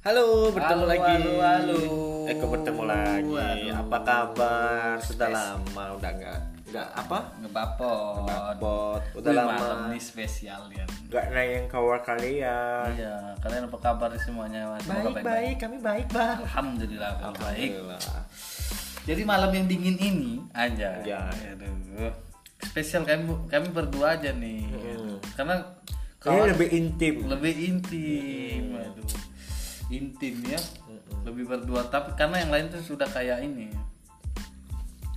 Halo, bertemu Halo, lagi. halo, halo. Eh, kok bertemu lagi? Halo. Apa kabar? Sudah lama udah nggak nggak apa? ngebapot Bot, udah Wih, lama. malam nih spesial ya Nggak nayang kabar kalian. iya kalian apa kabar semuanya Semoga kami baik, Bang. alhamdulillah kabar baik Alhamdulillah. jadi malam yang dingin ini aja Anjay. Aduh. spesial kami kami berdua aja nih karena Ini kawan Iya, lebih intim. lebih intim aduh intim ya lebih berdua tapi karena yang lain tuh sudah kayak ini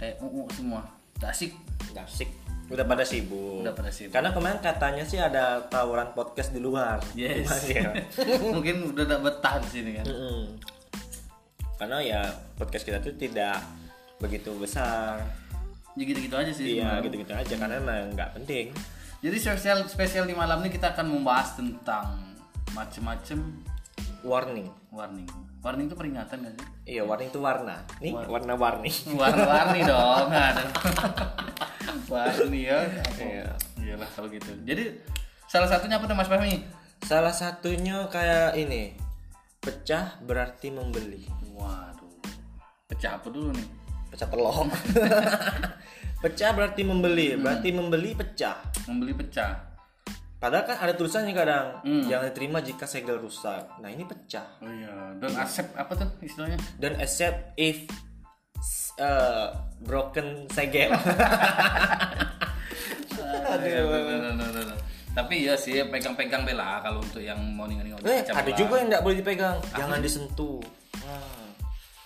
kayak uu semua Tak asik Asik. Udah pada sibuk. Udah pada sibuk. Karena kemarin katanya sih ada tawaran podcast di luar. Yes. Cuman ya, Mungkin udah tak betah di sini kan. mm-mm. Karena ya podcast kita tuh tidak begitu besar. Ya gitu-gitu aja sih. Iya, sebenarnya. gitu-gitu aja karena emang nggak penting. Jadi spesial spesial di malam ini kita akan membahas tentang macem-macem Warning. warning. Warning itu peringatan gak sih? Iya, warning itu warna. Nih, warna-warni. Warna-warni dong. aduh. Warni ya. apa? Iya. Iyalah kalau gitu. Jadi salah satunya apa tuh Mas Fahmi? Salah satunya kayak ini. Pecah berarti membeli. Waduh. Pecah apa dulu nih? Pecah telur. pecah berarti membeli, berarti membeli pecah. Membeli pecah. Padahal kan ada tulisannya kadang jangan diterima jika segel rusak. Nah, ini pecah. Oh iya, don't accept apa tuh istilahnya? Don't accept if s- uh, broken segel. Iya, Aduh, aduh, aduh, aduh. Tapi ya sih pegang-pegang bela kalau untuk yang mau ningan-ningan eh, pecah ada bela. juga yang nggak boleh dipegang. Jangan disentuh. Hmm. Nah.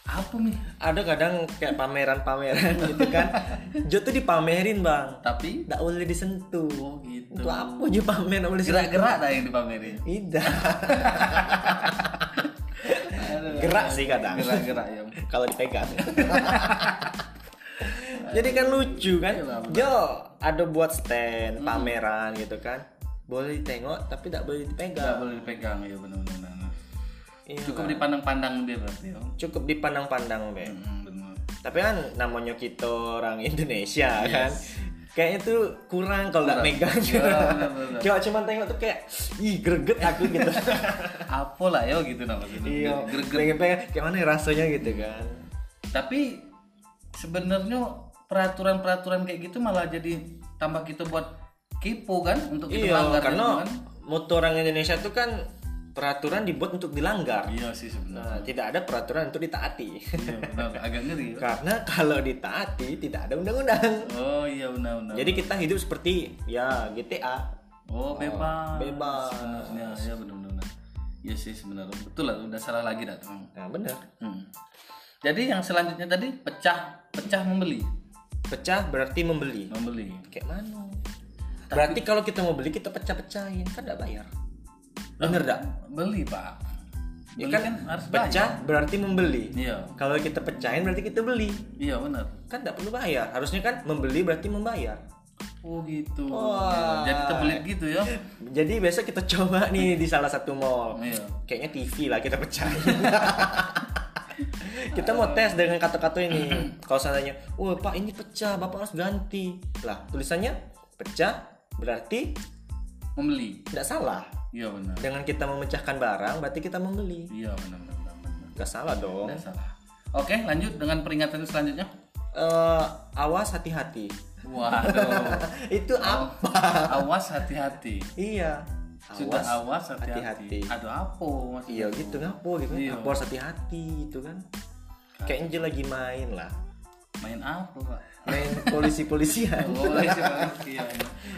apa nih? ada kadang kayak pameran-pameran gitu kan Jo tuh dipamerin bang Tapi Nggak boleh disentuh oh gitu. Untuk apa Jo pamer nggak boleh disentuh Gerak-gerak dah yang dipamerin. Tidak Aduh, Gerak aduh. sih kadang. Gerak-gerak ya. Kalau dipegang Jadi kan lucu Iya, kan Jo ada buat Hmm. stand pameran gitu kan Boleh ditengok tapi tidak boleh Enggak dipegang boleh dipegang ya benar-benar. Iya, Cukup kan? dipandang-pandang dia berarti ya. Cukup dipandang-pandang be Hmm, benar. Tapi kan namanya kita orang Indonesia kan Kayaknya tuh kurang kalau nggak megang Iya, benar-benar. Coba cuman tengok tuh kayak ih greget aku gitu. Apa lah ya gitu namanya. iya. Greget. Pengen pengen kayak mana ya rasanya gitu kan. Tapi sebenarnya peraturan-peraturan kayak gitu malah jadi tambah kita buat kepo kan untuk Iya, kita melanggar karena gitu kan. motor orang Indonesia tuh kan peraturan dibuat untuk dilanggar. Iya sih sebenarnya. Nah, tidak ada peraturan untuk ditaati. Iya benar, agak ngeri. ya. karena kalau ditaati tidak ada undang-undang. Oh iya benar-benar. Jadi kita hidup seperti ya GTA. Oh bebas. bebas. Sebenarnya ya benar-benar. Iya sih sebenarnya betul lah udah salah lagi dah tuh. Nah, bener. Hmm. Jadi yang selanjutnya tadi pecah pecah membeli Pecah berarti membeli. membeli. Kayak mana? Berarti kalau kita mau beli kita pecah-pecahin kan nggak bayar. Bener dak? Beli pak. Ya Beli kan, harus bayar. Pecah berarti membeli. Iya Kalau kita pecahin berarti kita beli. iya benar. Kan nggak perlu bayar. Harusnya kan membeli berarti membayar. Oh gitu. Wah. Jadi terbelit gitu ya. Jadi besok kita coba nih di salah satu mall. Iya. Kayaknya TV lah kita pecahin. kita mau tes dengan kata-kata ini. Kalau seandainya, wah pak ini pecah, bapak harus ganti. Lah tulisannya pecah berarti Membeli. tidak salah. Iya benar. Dengan kita memecahkan barang berarti kita membeli. Iya benar benar benar. benar. Gak salah dong. Nggak salah. Oke lanjut dengan peringatan selanjutnya. Eh, awas hati-hati. Waduh. Itu apa? Awas hati-hati. Iya. Sudah Awas. awas hati-hati. hati-hati. Aduh apa maksudnya? Iya gitu ngapo gitu. Iya. Apa harus hati-hati gitu kan. Kayaknya dia lagi main lah. Main apa pak? Main polisi-polisian. Oh, iya.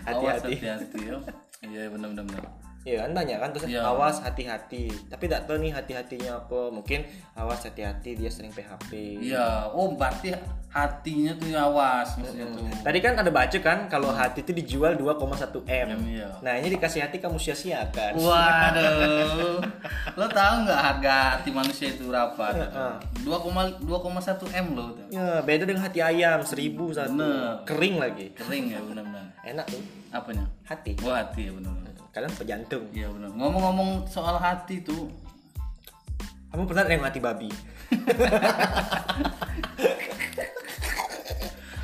Awas Hati-hati. hati-hati ya. Iya benar-benar. benar. Iya kan banyak kan terus Iya. awas hati-hati. Tapi tidak tahu nih hati-hatinya apa. Mungkin awas hati-hati dia sering PHP. Iya. Oh berarti hatinya tuh awas maksudnya tuh. Tadi kan ada baca kan kalau hati itu dijual 2,1 M. Iya. Nah, ini dikasih hati kamu sia-siakan. Waduh, lo tahu nggak harga hati manusia itu berapa? Dua koma m lo tuh. Ya, beda dengan hati ayam, seribu satu. Bener. Kering lagi. Kering ya benar-benar. Enak tuh, Apanya? hati. Wah hati ya benar-benar. Kalian pejantung. Iya benar. Ngomong-ngomong soal hati tuh, kamu pernah ada yang mati babi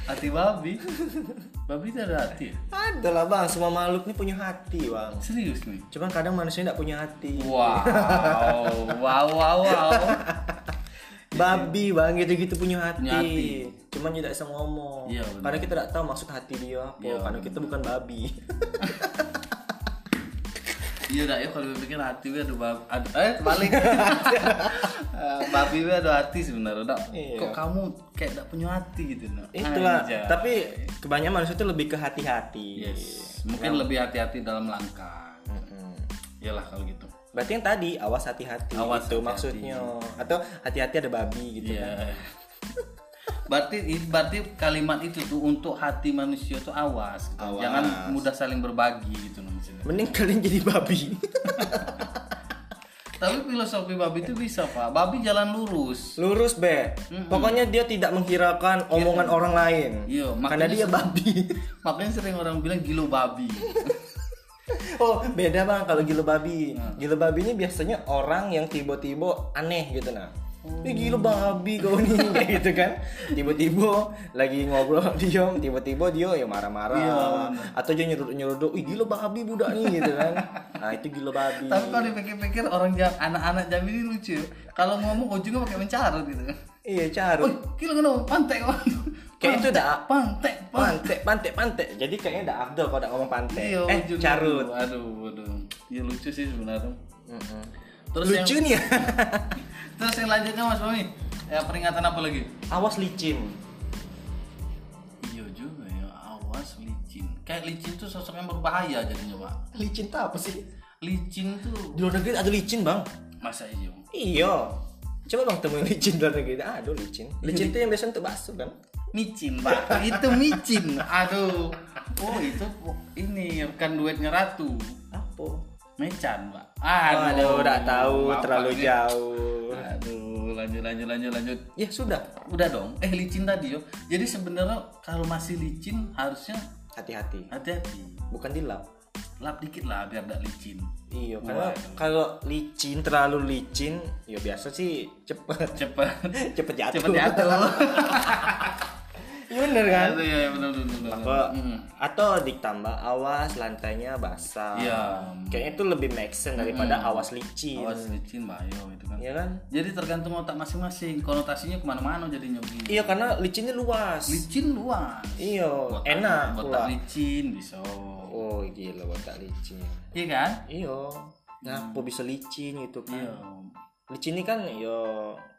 Hati babi. babi itu ada hati ya? ada lah bang semua makhluk nih punya hati bang Serius nih. cuman kadang manusia nggak punya hati Wow, wow, wow, wow. babi bang gitu-gitu punya hati, iya. Punya hati. cuman dia tidak bisa ngomong Iya, benar. karena kita tidak tahu maksud hati dia apa Iya, karena kita bukan babi Iya dah ya kalau pikir hati gue ada babi, ada, eh balik. Eh, babi gue ada hati sebenarnya. Dak. Iya. Kok kamu kayak gak punya hati gitu nak? itulah Anjay. Iya. tapi kebanyakan manusia itu lebih ke hati-hati Yes. Iya, Mungkin lebih hati-hati dalam langkah. Hmm. Iyalah kalau gitu. berarti yang tadi awas hati-hati Awas itu hati-hati. maksudnya atau hati-hati ada babi gitu Iya. berarti berarti kalimat itu tuh untuk hati manusia tuh awas, gitu. Awas. jangan mudah saling berbagi gitu loh maksudnya. mending kalian jadi babi Tapi filosofi babi itu bisa pak. Babi jalan lurus. lurus be pokoknya dia tidak menghiraukan omongan orang lain Iya, karena makanya dia babi Makanya sering orang bilang gilo babi. oh beda bang kalau gila babi Iya. gila babi ini biasanya orang yang tiba-tiba aneh gitu nah Oh. Ih gila babi kau nih kayak gitu kan tiba-tiba lagi ngobrol diem tiba-tiba dia ya marah-marah Iya, atau dia nyeruduk-nyeruduk ih gila babi budak nih gitu kan nah itu gila babi Tapi kalau dipikir-pikir orang jam anak-anak jam ini lucu. Kalau ngomong ujungnya pakai mencarut gitu. iya carut Wih, gila kenapa? Pantek Wan. Kayak itu dah. Pantek. Pantek. pantek pantek pantek jadi kayaknya udah abdul kalau udah ngomong pantek Iya, eh ujungnya. carut Aduh, aduh. Ya lucu sih sebenarnya. Mm-mm. Terus yang lucu nih ya Terus yang lanjutnya Mas Fahmi, ya peringatan apa lagi? awas licin Iya juga ya, awas licin. Kayak licin tuh sosok yang berbahaya jadinya Pak. licin tuh apa sih Licin tuh di luar negeri ada licin bang masa iya? iya coba bang temuin licin di luar negeri aduh licin licin tuh yang biasa untuk bakso kan Micin Pak, itu micin. Aduh, oh itu ini bukan duetnya ratu. apa Mecan Pak. aduh udah tahu Bapak terlalu ini. jauh Aduh, lanjut lanjut lanjut lanjut. ya sudah Udah dong. Eh licin tadi yo. Jadi sebenarnya kalau masih licin harusnya hati-hati hati-hati. bukan dilap Lap dikit lah biar nggak licin. iya karena kalau licin terlalu licin ya biasa sih cepet Cepat. cepet jatuh Cepet jatuh. Iya bener kan Iya, iya, benar benar. benar. Ke- Mm. atau ditambah awas lantainya basah Iya. kayaknya itu lebih make sense daripada awas licin Awas licin bayo itu kan. Iya kan Jadi tergantung otak masing-masing, konotasinya kemana-mana jadinya begini. iya karena licinnya luas Licin luas. iya Botak- enak Botak pula licin bisa. oh gila botak licin Iya kan? iya ngapa bisa licin gitu kan Mm. Iya. licin ini kan yo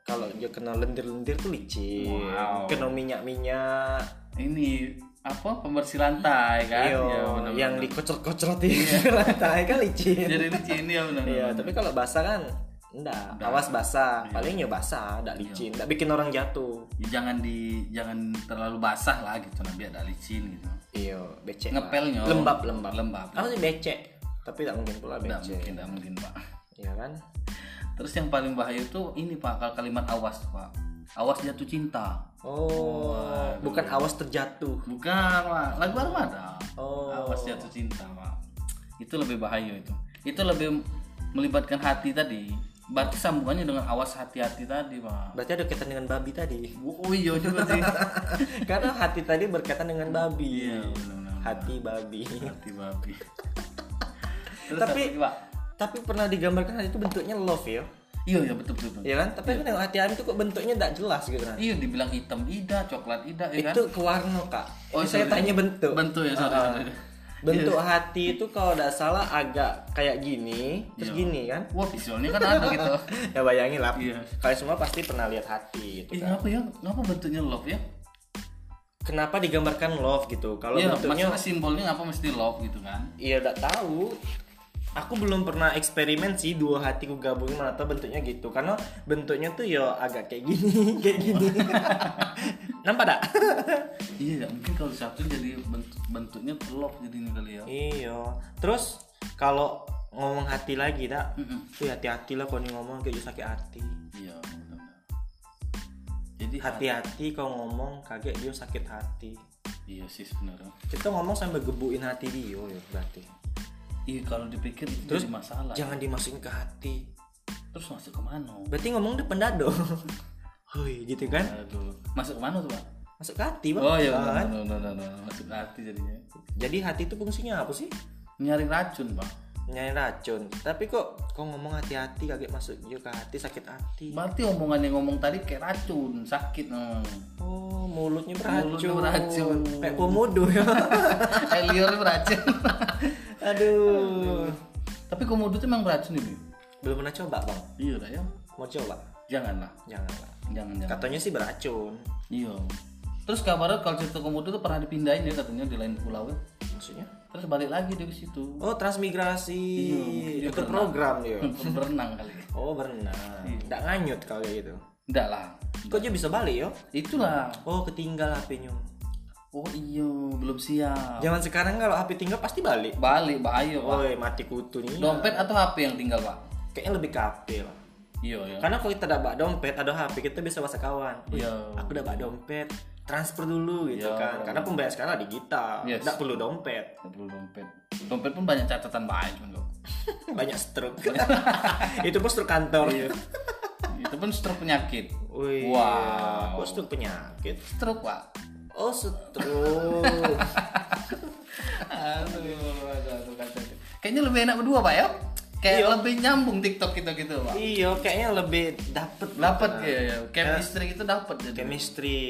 kalau dia kena lendir-lendir tuh licin Wow. kena minyak-minyak Ini apa pembersih lantai kan? iya Iya, benar, yang benar. dikocor-kocorotin lantai kan licin jadi licin ya benar. Iya, benar. tapi kalau basah kan enggak. Awas Iya. basah. Paling ya basah, enggak licin, enggak bikin orang jatuh. Ya, jangan di jangan terlalu basah lah gitu nah biar nggak licin gitu. Iya, becek. lah. Ngepelnya. lembab, lembab. Lembab. Apa sih becek? Tapi enggak mungkin pula Nggak becek. mungkin, nggak mungkin pak. Iya kan? Terus yang paling bahaya itu ini pak kalau kalimat awas pak, awas jatuh cinta. Oh, bukan awas terjatuh. Bukan pak, lagu Armada. Oh. Awas jatuh cinta pak. Itu lebih bahaya itu. Itu lebih melibatkan hati tadi. Berarti sambungannya dengan awas hati-hati tadi pak. Berarti ada kaitan dengan babi tadi. Oh iya juga sih. Karena hati tadi berkaitan dengan babi. Iya, benar-benar. Hati babi. hati babi. Terus Tapi- apa lagi, pak. Tapi pernah digambarkan hati itu bentuknya love ya. Iya iya betul betul. betul. Iya kan? Tapi kan yang hati hati itu kok bentuknya enggak jelas gitu kan. Iya dibilang hitam ida, coklat ida ya kan. Itu ke warna, Kak. Oh, Ini saya sorry. tanya bentuk. Bentuk ya sorry. Ah. sorry. Bentuk Iya. hati itu kalau tidak salah agak kayak gini, terus Iya. gini kan? Wah visualnya kan ada gitu. Ya bayangin lah. Iya. Kalian semua pasti pernah lihat hati gitu Ih, kan. ngapa ya? Ngapa bentuknya love ya? Kenapa digambarkan love gitu? Kalau Iya, bentuknya maksudnya simbolnya ngapa mesti love gitu kan? iya tidak tahu. Aku belum pernah eksperimen sih dua hatiku gabungin mana tau bentuknya gitu. Karena bentuknya tuh ya agak kayak gini, kayak gini. Nampak tak? Iya, ya, mungkin kalau satu jadi bentuk, bentuknya love jadinya kali ya. iya. Terus kalau ngomong hati lagi tak? Mm-mm. Wih hati-hati lah kalau nih ngomong kayak sakit hati. Iya, benar-benar. Jadi hati. hati-hati kau ngomong kaget dia sakit hati Iya sih sebenarnya. kita ngomong sambil gebuin hati dia ya berarti Iya, kalau dipikir itu Terus jadi masalah. jangan dimasukin ke hati terus masuk ke mana Berarti ngomong depan dado. Hoi, gitu kan? aduh masuk ke mana tuh pak Masuk ke hati, Bang. oh iya Kan? benar benar benar, benar. masuk ke hati jadinya Jadi hati itu fungsinya apa sih? nyari racun pak Nyari racun. Tapi kok kok ngomong hati-hati kaget masuk juga ke hati sakit hati. berarti omongan yang ngomong tadi kayak racun sakit hmm. no. Oh, mulutnya beracun. Mulutnya beracun. Kayak komodo ya. eh liurnya beracun Aduh. tapi komodo tuh emang beracun ini Belum pernah coba, Bang. iya lah ya Mau coba? janganlah Janganlah. jangan jangan Katanya sih beracun. iya terus kabarnya kalau cerita komodo tuh pernah dipindahin ya katanya di lain pulau ya Maksudnya? terus balik lagi dia ke situ Oh, transmigrasi. Iya, Itu berenang. program dia. berenang kali Oh, berenang. Iya. Enggak nganyut kalau kayak gitu. enggak lah Kok dia bisa balik, yo? itulah Oh, ketinggal HP-nya. oh iyo belum siap Zaman sekarang kalau HP tinggal pasti balik. balik bahaya pak Woi, mati kutu nih. dompet atau HP yang tinggal pak Kayaknya lebih ke HP lah. iya iya Karena kalau kita dapat dompet ada HP kita bisa bahasa kawan. Wih, Iya. Aku dapat dompet, transfer dulu gitu kan. Karena pembayaran sekarang ada digital, Yes. nggak perlu dompet. Nggak perlu dompet dompet pun banyak catatan banyak kok Banyak stroke. Itu pun stroke kantor. Iya. itu pun stroke penyakit Wih, wow Kok stroke penyakit? stroke pak Oh, stroke. aduh, aduh, aduh, kacau. kayaknya lebih enak berdua pak ya kayak lebih nyambung TikTok kita gitu pak iya, kayaknya lebih dapet dapat ya, ya. chemistry itu gitu. dapat jadi chemistry.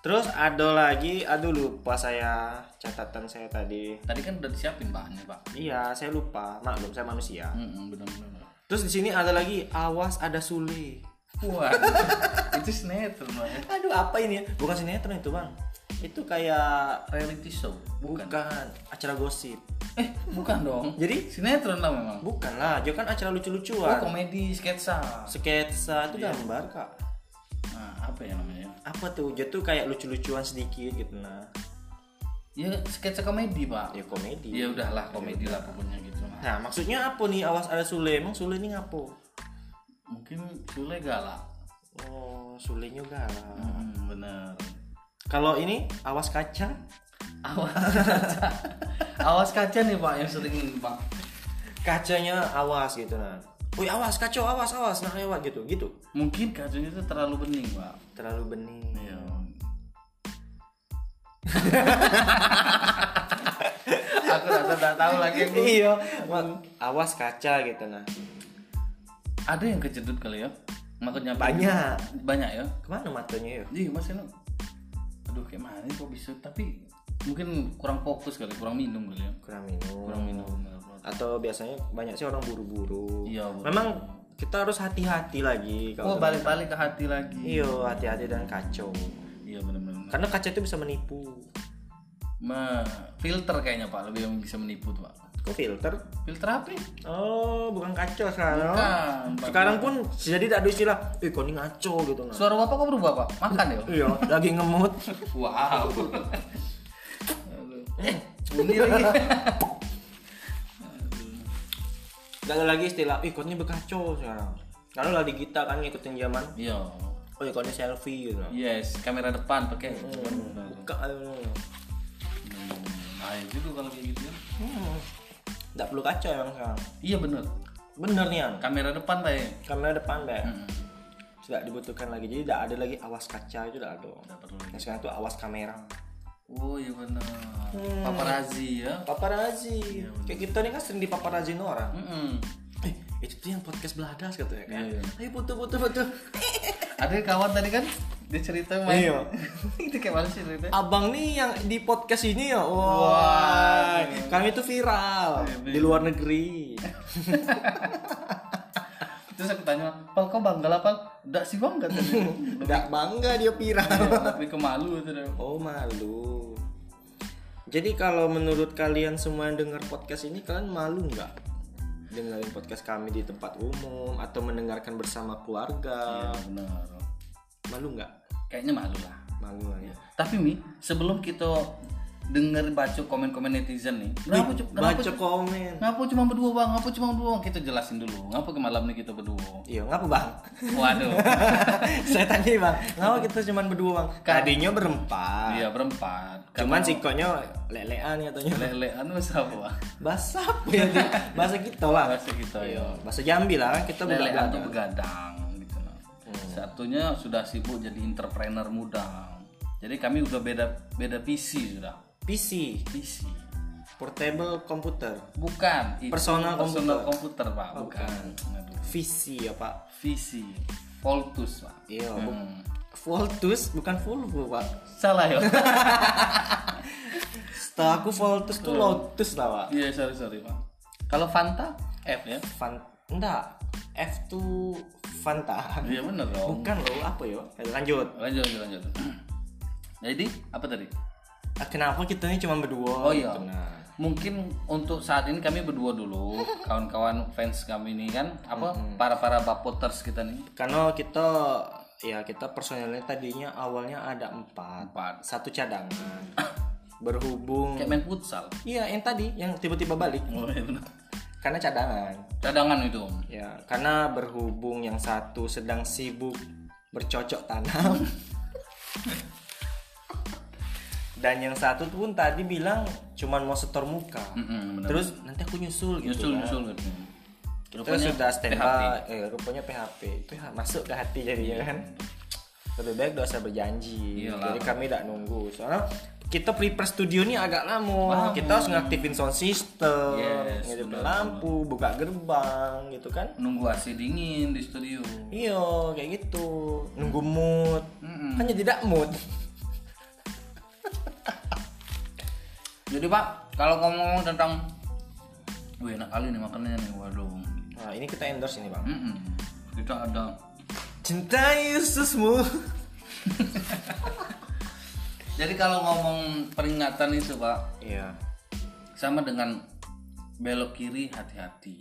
Terus ada lagi, aduh lupa saya catatan saya tadi. tadi kan udah disiapin bahannya pak Iya, saya lupa. Maklum, saya manusia. Mm-mm, benar-benar Terus di sini ada lagi, awas ada Sule. wah itu sinetron pak ya. Aduh, apa ini ya? Bukan sinetron itu, Bang. Itu kayak reality show bukan, bukan acara gosip. eh bukan dong Jadi? sinetron lah memang Bukan lah, dia kan acara oh Iya. lucu-lucuan. komedi sketsa Sketsa itu gambar, Kak. nah apa ya namanya Apa tuh? Dia tuh kayak lucu-lucuan sedikit gitu nah. ya sketsa komedi pak Ya komedi. ya udahlah komedi lah pokoknya gitu nah. Nah, maksudnya apa nih awas ada Sule? Emang Sule ini ngapo? mungkin Sule galak Oh, Sule juga lah. hmm, bener Kalau ini awas kaca. awas kaca awas kaca nih pak yang sering ini pak Kacanya awas gitu nah. Woi, awas kacau, awas, awas, nah lewat gitu, gitu. mungkin kacanya itu terlalu bening pak Terlalu bening. iya aku rasa nggak tahu lagi aku. iya Mak, awas kaca gitu nah ada yang kejedut kali ya makanya banyak banyak ya kemana matanya yuk Iya mas Eno Aduh kayak mana kok bisa Tapi mungkin kurang fokus kali Kurang minum kali ya kurang minum Kurang minum bener, bener. atau biasanya banyak sih orang buru-buru Iya, buru-buru. memang kita harus hati-hati lagi Oh kalau balik-balik ke hati lagi iyo hati-hati dan kacau Iya bener-bener karena kaca itu bisa menipu Ma, Filter kayaknya pak Lebih yang bisa menipu tuh pak kok filter Filter apa ya? oh bukan kacau sekarang Bukan, Pak. sekarang pun jadi tidak ada istilah eh kau ini ngaco gitu nah Suara bapak kok berubah pak? Makan ya? iya lagi ngemut Wow Eh, Bunyi lagi gak ada lagi istilah eh kau ini berkacau sekarang kalau lagi kita kan ngikutin zaman Iya oh ya kau ini selfie gitu Yes, kamera depan pakai. Oh. buka Hmm, Ayah juga kalau kayak gitu ya. hmm. Nggak perlu kaca emang sekarang Iya bener bener nih Ang. Kamera depan pak ya kamera depan deh Mm-mm. tidak dibutuhkan lagi jadi tidak ada lagi awas kaca itu tidak ada Nggak perlu lagi. nah, sekarang tuh awas kamera Oh iya benar. Paparazzi ya. paparazzi kayak kita nih kan sering dipaparazzi orang Mm-mm. eh itu tuh yang podcast beladas katanya kan Iya, ayo foto foto foto Eh, Ada kawan tadi kan dia cerita main. Iya. Itu kayak mana sih cerita? abang nih yang di podcast ini ya wah iya, kami itu viral di luar negeri Terus aku tanya, "Pal kau bangga lah, Pal?" "Enggak sih, Bang, enggak tadi." nggak bangga dia viral Iya, Tapi kemalu itu deh. Oh malu. Jadi kalau menurut kalian semua yang dengar podcast ini kalian malu nggak dengerin podcast kami di tempat umum atau mendengarkan bersama keluarga? Benar. Iya. Malu nggak? Ah, Kayaknya malu lah. Malu lah ya. Tapi Mi, sebelum kita denger baca komen-komen netizen nih. Kenapa, cu- kenapa, Baca cu- komen. kenapa cuma berdua bang? Kenapa cuma berdua? Kita jelasin dulu. Ngapa ke malam ini kita berdua? Iya, ngapa bang? Waduh. Saya tanya bang, ngapa kita cuman berdua bang? Tadinya berempat. Iya berempat. Cuman sikonya lelean katanya. Lelean wes apa? Bahasa apa ya? Di? Bahasa kita lah. Bahasa kita ya. Bahasa Jambi lah kan Iya. kita bukan Lelean tuh begadang gitu lah. Satunya sudah sibuk jadi entrepreneur muda. Jadi kami udah beda beda PC sudah. PC, PC. portable computer, Bukan. itu Personal Oh, personal komputer, Pak. Bukan. Aduh. VC ya pak. VC. Voltus, Pak. Iya. bu- Hmm. Voltus bukan Volvo pak. Salah ya. Setahu aku Voltus tuh Lotus lah pak. Iya, sorry sorry, Pak. Kalau Fanta F ya. Fan, enggak. F tuh Fanta. Iya bener dong. Bukan loh apa yo? Lanjut. Lanjut lanjut lanjut. Jadi apa tadi? Ah, Kenapa kita ini cuma berdua? Oh iya. gitu, nah. Mungkin untuk saat ini kami berdua dulu, kawan-kawan fans kami ini kan apa para-para bapoters kita nih. Karena kita ya kita personelnya tadinya awalnya ada empat, Empat. satu cadangan. Berhubung Kayak main futsal. Iya yang tadi yang tiba-tiba balik karena cadangan. Cadangan itu. Om. Ya karena berhubung yang satu sedang sibuk bercocok tanam dan yang satu pun tadi bilang cuman mau setor muka. Mm-mm, bener. Terus nanti aku nyusul gitu. Hmm, Nyusul nyusul gitu. Terus Rupanya sudah standby, PHP. eh, rupanya PHP itu ha- masuk ke hati jadinya kan. Lebih baik gak usah berjanji. Iyalah. Jadi kami tidak nunggu. Soalnya kita prepare studio ini agak lama. Lama. Kita harus ngaktifin sound system, Yes, ngedipin benar, lampu, buka gerbang gitu kan. nunggu AC dingin di studio. Iya, kayak gitu. Nunggu mood. Mm-mm. Kan jadi tidak mood. Jadi Pak, kalau ngomong tentang Wih enak kali nih makannya nih, waduh. Nah, ini kita endorse ini, Bang. Mm-mm. Kita ada Cinta Yesusmu. Jadi kalau ngomong peringatan itu Pak, Iya. sama dengan belok kiri hati-hati.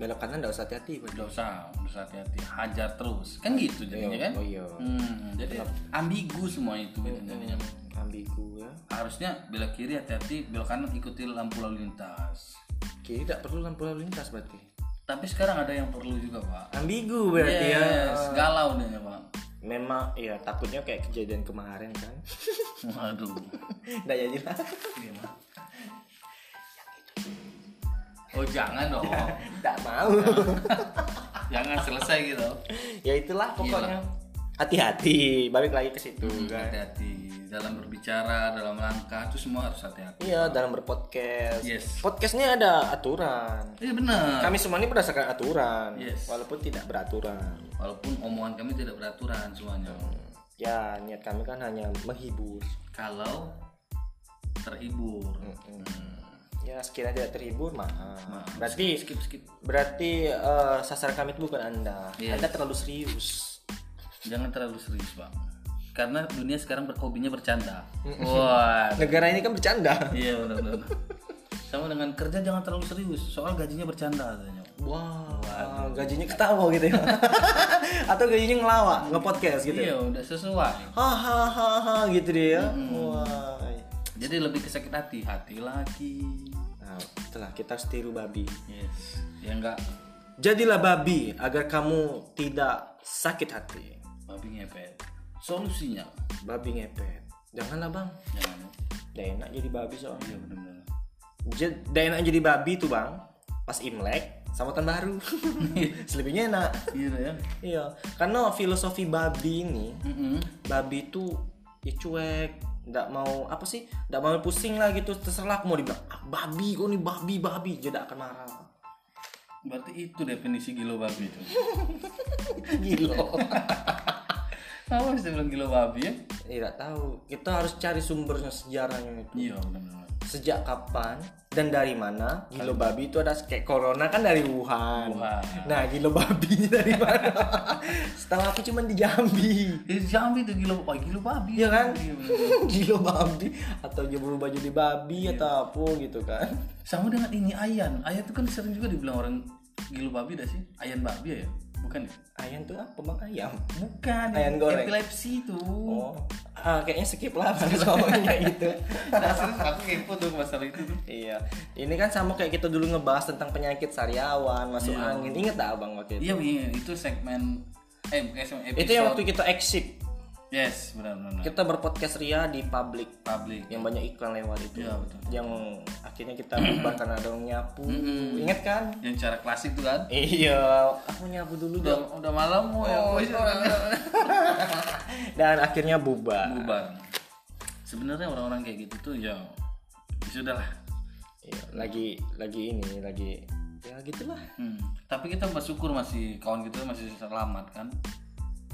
Belok kanan enggak usah hati-hati, Bang. Gak usah, gak usah hati-hati, hajar terus. Kan gitu jadinya kan? Oh iya. Hmm, jadi ambigu semua itu bedanya. Ambigu ya. Harusnya belok kiri hati-hati, belok kanan ikuti lampu lalu lintas. Kiri tidak perlu lampu lalu lintas berarti. Tapi sekarang ada yang perlu juga, Pak. ambigu berarti ya Yes, galau nih, Pak. memang ya takutnya kayak kejadian kemarin kan Waduh. nggak jadi lah Gimana? Oh, jangan dong. nggak mau jangan selesai gitu. ya itulah pokoknya hati-hati balik lagi ke situ Hmm. kan Hati-hati dalam berbicara, dalam langkah itu semua harus hati-hati. iya dalam berpodcast Yes. podcastnya ada aturan Iya benar. kami semua ini berdasarkan aturan Yes. walaupun tidak beraturan Walaupun omongan kami tidak beraturan semuanya. ya niat kami kan hanya menghibur Kalau terhibur, ya sekiranya tidak terhibur mah Nah, Maaf. berarti skip skip. berarti eh, sasaran kami itu bukan anda Yes. anda terlalu serius Jangan terlalu serius pak. Karena dunia sekarang berhobinya bercanda. Wah. negara ini kan bercanda Iya benar benar. Sama dengan kerja jangan terlalu serius. Soal gajinya bercanda katanya. Wah, gajinya ketawa gitu ya. Atau gajinya ngelawak, nge-podcast gitu. Iya udah sesuai. Hahaha gitu dia. Wah. Jadi lebih ke sakit hati, hati lagi. Nah, itulah kita harus tiru babi. Yes. Ya enggak. Jadilah babi agar kamu tidak sakit hati. Babi ngepet. Solusinya Babi ngepet. Janganlah, Bang. jangan. ya. Udah enak jadi babi soalnya. Iya benar benar. Jad- Udah enak jadi babi tuh, Bang. Pas Imlek sama tahun baru. Selebihnya enak. Iya ya. Iya, karena filosofi babi ini Mm-mm. babi itu ya cuek nggak mau apa sih nggak mau pusing lah gitu terserah aku mau dibilang "Ah, babi kau nih babi babi dia nggak akan marah Berarti itu definisi gilo babi itu. gilo Kenapa bisa bilang gilo babi ya? tidak Iya, tahu kita harus cari sumbernya sejarahnya itu Iya benar-benar. sejak kapan dan dari mana gilo babi itu ada kayak corona kan dari Wuhan Wuhan. nah gilo babinya dari mana setahu aku cuman di Jambi Eh, Jambi tuh gilo, wah gilo babi. Iya kan? bener-bener. gilo babi atau dia berubah jadi babi atau apa gitu kan Sama dengan ini ayan. Ayan tuh kan sering juga dibilang orang gilo babi dah sih. Ayan babi ya? Bukan ya? ayam tuh apa bang ayam Bukan. Ayan goreng. Epilepsi itu. Oh, ah, kayaknya skip lah bahas ngomongin kayak gitu Nah, serius, aku kepo tuh masalah itu tuh. iya ini kan sama kayak kita dulu ngebahas tentang penyakit sariawan masuk angin inget tak abang waktu itu Iya, iya, itu segmen eh bukan segmen episode. itu yang waktu kita exit Yes, benar benar. benar. kita berpodcast ria di publik Public. yang banyak iklan lewat itu Iya, betul. yang akhirnya kita bubar karena ada yang nyapu inget kan Yang cara klasik tuh kan. iya aku nyapu dulu Udah dong udah malam mau ya boys orang dan akhirnya bubar bubar. Sebenarnya orang-orang kayak gitu tuh ya ya sudahlah. Iya, lagi lagi ini lagi ya gitulah Hmm. Tapi kita bersyukur masih kawan kita masih selamat kan.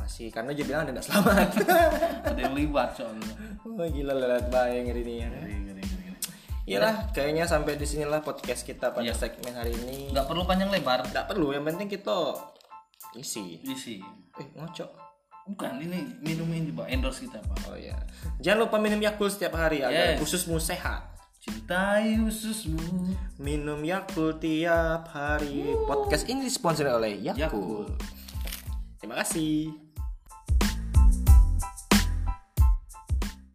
masih karena dia bilang ada nggak selamat Ada yang libat soalnya. Wah, gila lelet bayang hari ini ya Ngeri, ngeri, ngeri, ngeri. Iyalah, kayaknya sampai disinilah podcast kita pada Iya. segmen hari ini. Nggak perlu panjang lebar. Nggak perlu, yang penting kita isi. Isi. Eh, ngocok. Bukan ini minumin juga endorse kita pak. Oh ya. Jangan lupa minum Yakult setiap hari agar Yes. khususmu sehat. Cintai ususmu. Minum Yakult tiap hari. Podcast ini disponsori oleh Yakult. Yakult. Terima kasih.